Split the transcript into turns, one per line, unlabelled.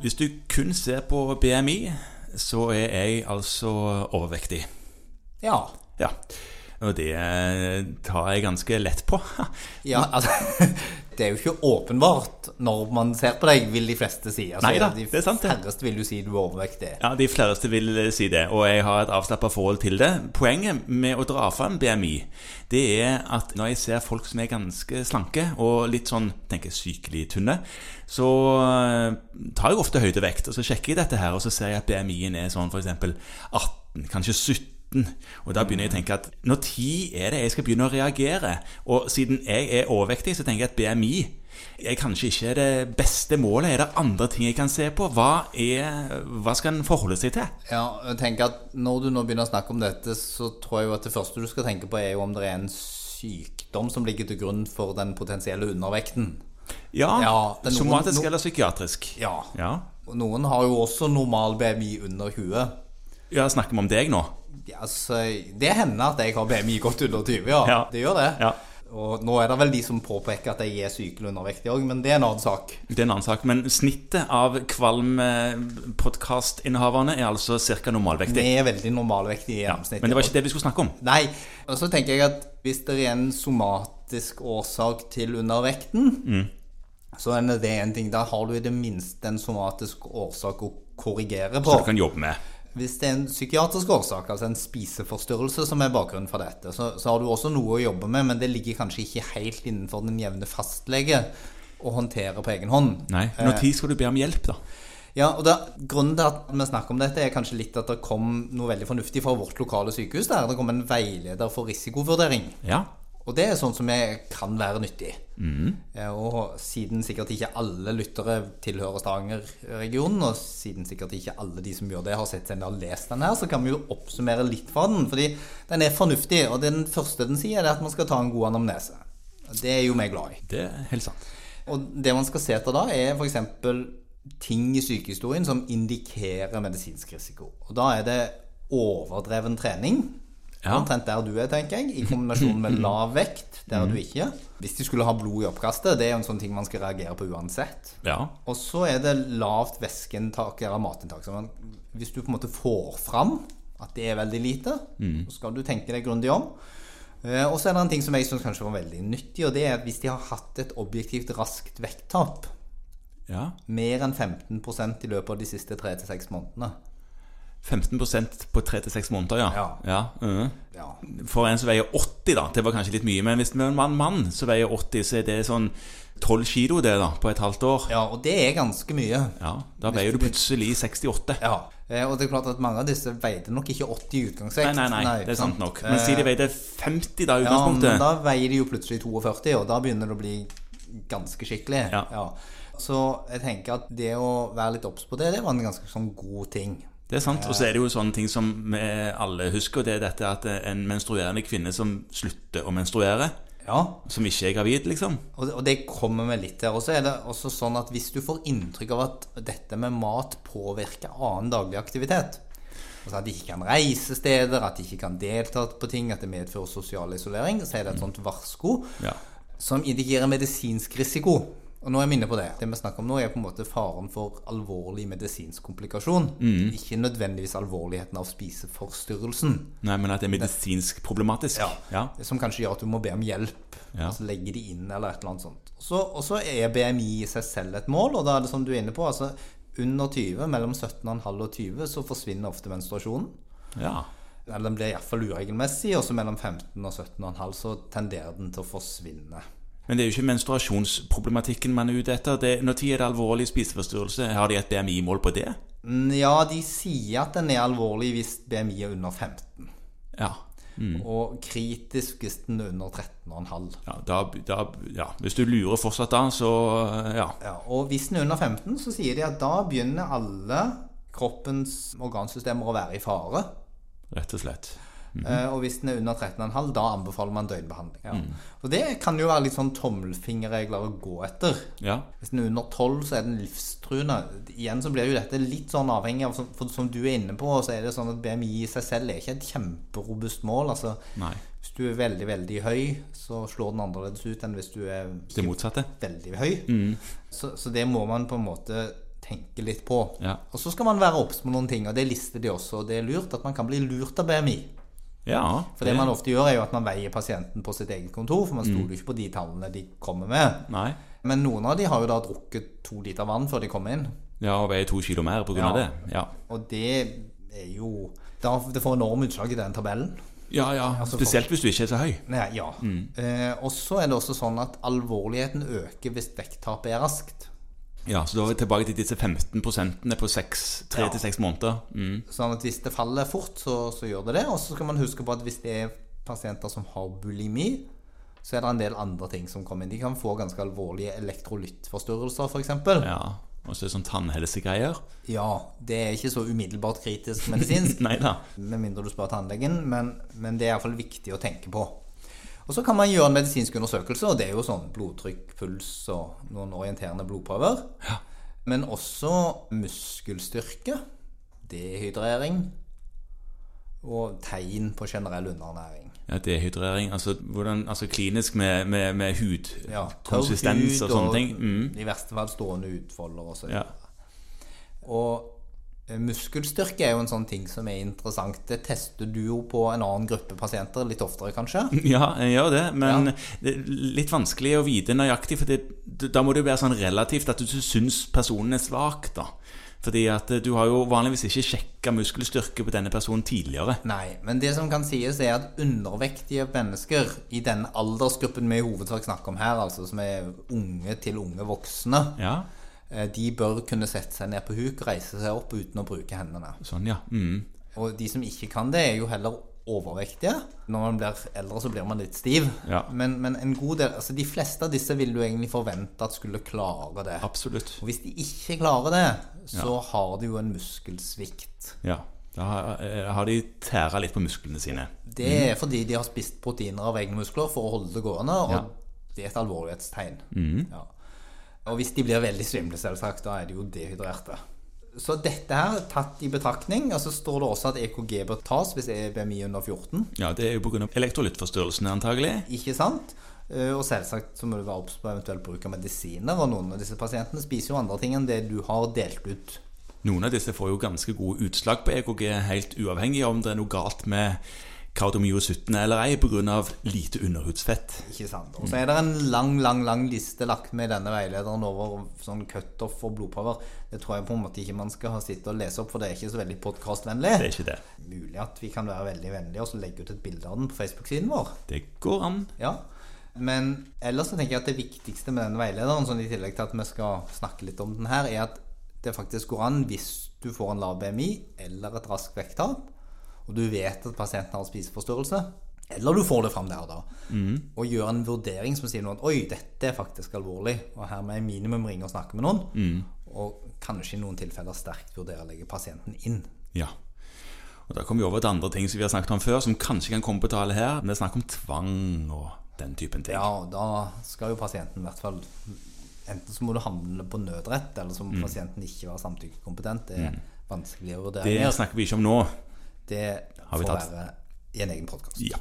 Hvis du kun ser på BMI, så er jeg altså overvektig.
Ja.
Ja. Og det eh, tar jeg ganske lett på.
ja altså, det er jo ikke åpenbart når man ser på deg, vil de fleste si. Altså,
Neida,
de
det er sant, det.
Færreste vil jo si du er overvektig.
Ja, De fleste vil eh, si det, og jeg har et avslappa forhold til det. Poenget med å dra fram BMI, det er at når jeg ser folk som er ganske slanke og litt sånn tenker jeg, sykelig tynne, så eh, tar jeg ofte høydevekt, og så sjekker jeg dette her, og så ser jeg at BMI-en er sånn f.eks. 18, kanskje 17. Og da begynner jeg å tenke at når tid er det jeg skal begynne å reagere? Og siden jeg er overvektig, så tenker jeg at BMI er kanskje ikke det beste målet. Er det andre ting jeg kan se på? Hva, er, hva skal en forholde seg til?
Ja, jeg tenker at Når du nå begynner å snakke om dette, så tror jeg jo at det første du skal tenke på, er jo om det er en sykdom som ligger til grunn for den potensielle undervekten.
Ja,
Ja, det er noen-
somatisk
no-
eller psykiatrisk?
Ja.
ja.
Og Noen har jo også normal BMI under 20.
Ja, Snakker vi om deg nå?
Ja, altså, det hender at jeg har BMI godt under 20, ja.
Ja.
Det gjør det.
Ja.
Og nå er det vel de som påpeker at jeg er sykelig undervektig òg, men det er en annen sak.
Det er en annen sak. Men snittet av kvalmpodkastinnehaverne er altså ca.
Vi
normalvektig.
er veldig normalvektige i gjennomsnitt.
Men det var ikke det vi skulle snakke om.
Nei. Og så tenker jeg at hvis det er en somatisk årsak til undervekten,
Mm.
så er det en ting. Da har du i det minste en somatisk årsak å korrigere på.
Som du kan jobbe med.
Hvis det er en psykiatrisk årsak, altså en spiseforstyrrelse som er bakgrunnen for dette, så, så har du også noe å jobbe med, men det ligger kanskje ikke helt innenfor den jevne fastlege å håndtere på egen hånd.
Nei, Når tid skal du be om hjelp, da?
Ja, og da, Grunnen til at vi snakker om dette, er kanskje litt at det kom noe veldig fornuftig fra vårt lokale sykehus. der Det kom en veileder for risikovurdering.
Ja.
Og det er sånn som jeg kan være nyttig. Eh, Og siden sikkert ikke alle lyttere tilhører Stavanger-regionen, og siden sikkert ikke alle de som gjør det, har sett den og lest den her, så kan vi jo oppsummere litt fra den. Fordi den er fornuftig, og det den første den sier, er at man skal ta en god anamnese. Og Det er jo vi glad i.
Det er helt sant.
Og det man skal se etter da, er f.eks. ting i sykehistorien som indikerer medisinsk risiko. Og da er det overdreven trening.
Ja.
Omtrent der du er, tenker jeg. I kombinasjon med lav vekt, der du ikke er. Hvis de skulle ha blod i oppkastet, det er jo en sånn ting man skal reagere på uansett.
Ja.
Og så er det lavt væskeinntak eller matinntak. Så man, hvis du på en måte får fram at det er veldig lite,
Mm.
så skal du tenke deg grundig om. Eh, Og så er det en ting som jeg syns kanskje var veldig nyttig, og det er at hvis de har hatt et objektivt raskt vekttap
ja.
mer enn 15 i løpet av de siste 3-6 månedene
15 på 3-6 måneder, ja.
Ja.
mhm.
ja.
For en som veier 80, da. Det var kanskje litt mye, men hvis det er en mann, mann som veier 80, så er det sånn 12 kilo det da, på et halvt år.
ja, og det er ganske mye.
Ja, Da veier du plutselig 68.
Ja. Eh, Og det er klart at mange av disse veide nok ikke 80 i
Nei,
utgangsvekt.
nei, nei, det er sant nok. Men
Eh,
si de veide 50 da, i
Ja, men
utgangspunktet.
da veier de jo plutselig 42, og da begynner det å bli ganske skikkelig.
Ja.
Så jeg tenker at det å være litt obs på det, det var en ganske sånn god ting.
Det er sant. Og så er det jo sånne ting som vi alle husker, og det er dette at en menstruerende kvinne som slutter å menstruere,
Ja,
som ikke er gravid, liksom.
og, og det kommer vi litt der. Og så er det også sånn at hvis du får inntrykk av at dette med mat påvirker annen daglig aktivitet Altså At de ikke kan reise steder, at de ikke kan delta på ting, at det medfører sosial isolering, så er det et
Mm.
sånt varsko.
Ja.
som indikerer medisinsk risiko. Og nå er vi inne på det. Det vi snakker om nå, er på en måte faren for alvorlig medisinsk komplikasjon. Ikke nødvendigvis alvorligheten av spiseforstyrrelsen,
Nei, men at det er medisinsk problematisk.
Ja.
ja.
som kanskje gjør at du må be om hjelp.
Ja.
Altså legge de inn, eller et eller annet sånt. Og så- Og så er BMI i seg selv et mål, og da er det som du er inne på, altså under 20, mellom 17,5 og 20, så forsvinner ofte menstruasjonen.
ja.
Eller den blir iallfall uregelmessig, og så mellom 15 og 17,5 så tenderer den til å forsvinne.
Men det er jo ikke menstruasjonsproblematikken man er ute etter. Det, når tid er det alvorlig spiseforstyrrelse? Har de et BMI-mål på det?
Mm, Ja, de sier at den er alvorlig hvis BMI er under 15.
Ja.
Og kritisk hvis den er under 13,5.
ja, da, da ja. Hvis du lurer fortsatt da, så eh, ja.
Ja, og hvis den er under 15, så sier de at da begynner alle kroppens organsystemer å være i fare.
Rett og slett.
Eh, Og hvis den er under 13,5, da anbefaler man døgnbehandling. Ja. Og det kan jo være litt sånn tommelfingerregler å gå etter.
Ja.
Hvis den er under 12, så er den livstruende. Igjen så blir jo dette litt sånn avhengig av For som du er inne på, så er det sånn at BMI i seg selv er ikke et kjemperobust mål. Altså,
Nei.
Hvis du er veldig, veldig høy, så slår den annerledes ut enn hvis du er
Det motsatte.
veldig høy. Så, så det må man på en måte tenke litt på.
Ja.
Og så skal man være obs på noen ting, og det lister de også. Og det er lurt at man kan bli lurt av BMI.
Ja. Mm.
For det man ofte gjør, er jo at man veier pasienten på sitt eget kontor, for man stoler jo ikke på de tallene de kommer med.
Nei.
Men noen av de har jo da drukket to liter vann før de kom inn.
Ja, og veier to kilo mer pga. av
Ja.
det. Ja.
Og det er jo da Det får enorme utslag i den tabellen.
ja, ja.
Altså,
Spesielt hvis du ikke er så høy.
Nei, ja. Eh, og så er det også sånn at alvorligheten øker hvis vekttapet er raskt.
Ja, Så da er vi tilbake til disse 15 på seks- tre
Ja.
til seks måneder. Mm.
Sånn at hvis det faller fort, så, så gjør det det. Og så skal man huske på at hvis det er pasienter som har bulimi, så er det en del andre ting som kommer inn. De kan få ganske alvorlige elektrolyttforstyrrelser, f.eks.
Ja. Og så er det sånn tannhelsegreier.
Ja, det er ikke så umiddelbart kritisk medisinsk,
Nei da.
med mindre du spør tannlegen, men, men det er iallfall viktig å tenke på. Og så kan man gjøre en medisinsk undersøkelse, og det er jo sånn blodtrykk, puls og noen orienterende blodprøver. Men også muskelstyrke, dehydrering og tegn på generell underernæring.
Ja, Dehydrering. Altså, hvordan, altså klinisk med, med, med hud.
Ja, tørr
konsistens
hud
og sånne ting. Mm.
I verste fall stående utfolder og så
Ja.
Og eh, muskelstyrke er jo en sånn ting som er interessant. Det tester du jo på en annen gruppe pasienter litt oftere, kanskje.
Ja, jeg gjør det, men det er litt vanskelig å vite nøyaktig. For det, da må det jo være sånn relativt at du syns personen er svak, da. Fordi at eh, du har jo vanligvis ikke sjekka muskelstyrke på denne personen tidligere.
Nei, men det som kan sies er at undervektige mennesker i denne aldersgruppen vi i hovedsak snakker om her, altså som er unge til unge voksne,
Ja,
eh, de bør kunne sette seg ned på huk, reise seg opp uten å bruke hendene.
sånn, ja. Mm.
Og de som ikke kan det, er jo heller overvektige. Når man blir eldre, så blir man litt stiv.
Ja.
Men, men en god del, altså de fleste av disse vil du egentlig forvente at skulle klare det.
Absolutt.
Og hvis de ikke klarer det, så har de jo en muskelsvikt.
Ja. Da har- eh, har de tæra litt på musklene sine.
Det er fordi de har spist proteiner av egne muskler for å holde det gående, og det er et alvorlighetstegn. Ja. Og hvis de blir veldig svimle, selvsagt, da er de jo dehydrerte. Så dette her er tatt i betraktning, og så står det også at EKG bør tas hvis E det er BMI under 14.
Ja, det er jo pga. elektrolyttforstyrrelsene, antagelig.
Ikke sant? Eh, Og selvsagt så må du være obs på eventuell bruk av medisiner, og noen av disse pasientene spiser jo andre ting enn det du har delt ut.
Noen av disse får jo ganske gode utslag på EKG, helt uavhengig av om det er noe galt med kardiomyocyttene eller ei pga. lite underhudsfett.
Ikke sant? Og så er det en lang, lang lang liste lagt med i denne veilederen over sånn cutoff for blodprøver. Det tror jeg på en måte ikke man skal ha sitte og lese opp, for det er ikke så veldig podkastvennlig.
Det er ikke det.
Mulig at vi kan være veldig vennlige og så legge ut et bilde av den på Facebook-siden vår.
Det går an.
Ja. Men ellers så tenker jeg at det viktigste med denne veilederen, sånn i tillegg til at vi skal snakke litt om den her, er at det faktisk går an hvis du får en lav BMI eller et raskt vekttap, og du vet at pasienten har spiseforstyrrelse, eller du får det fram der og da, og gjør en vurdering som sier noe at oi, dette er faktisk alvorlig, og her må jeg minimum ringe og snakke med noen, og kanskje i noen tilfeller sterkt vurdere å legge pasienten inn.
Ja. Og Da kommer vi over til andre ting som vi har snakket om før, som kanskje kan komme på tale her. Vi snakker om tvang og den typen ting.
Ja, og da skal jo pasienten i hvert fall Enten så må du handle på nødrett, eller
Mm.
så må pasienten ikke være samtykkekompetent. Det er vanskelige
Det
vurderinger.
snakker vi ikke om nå.
Det,
har vi
får
tatt.
være i en egen podkast.
Ja.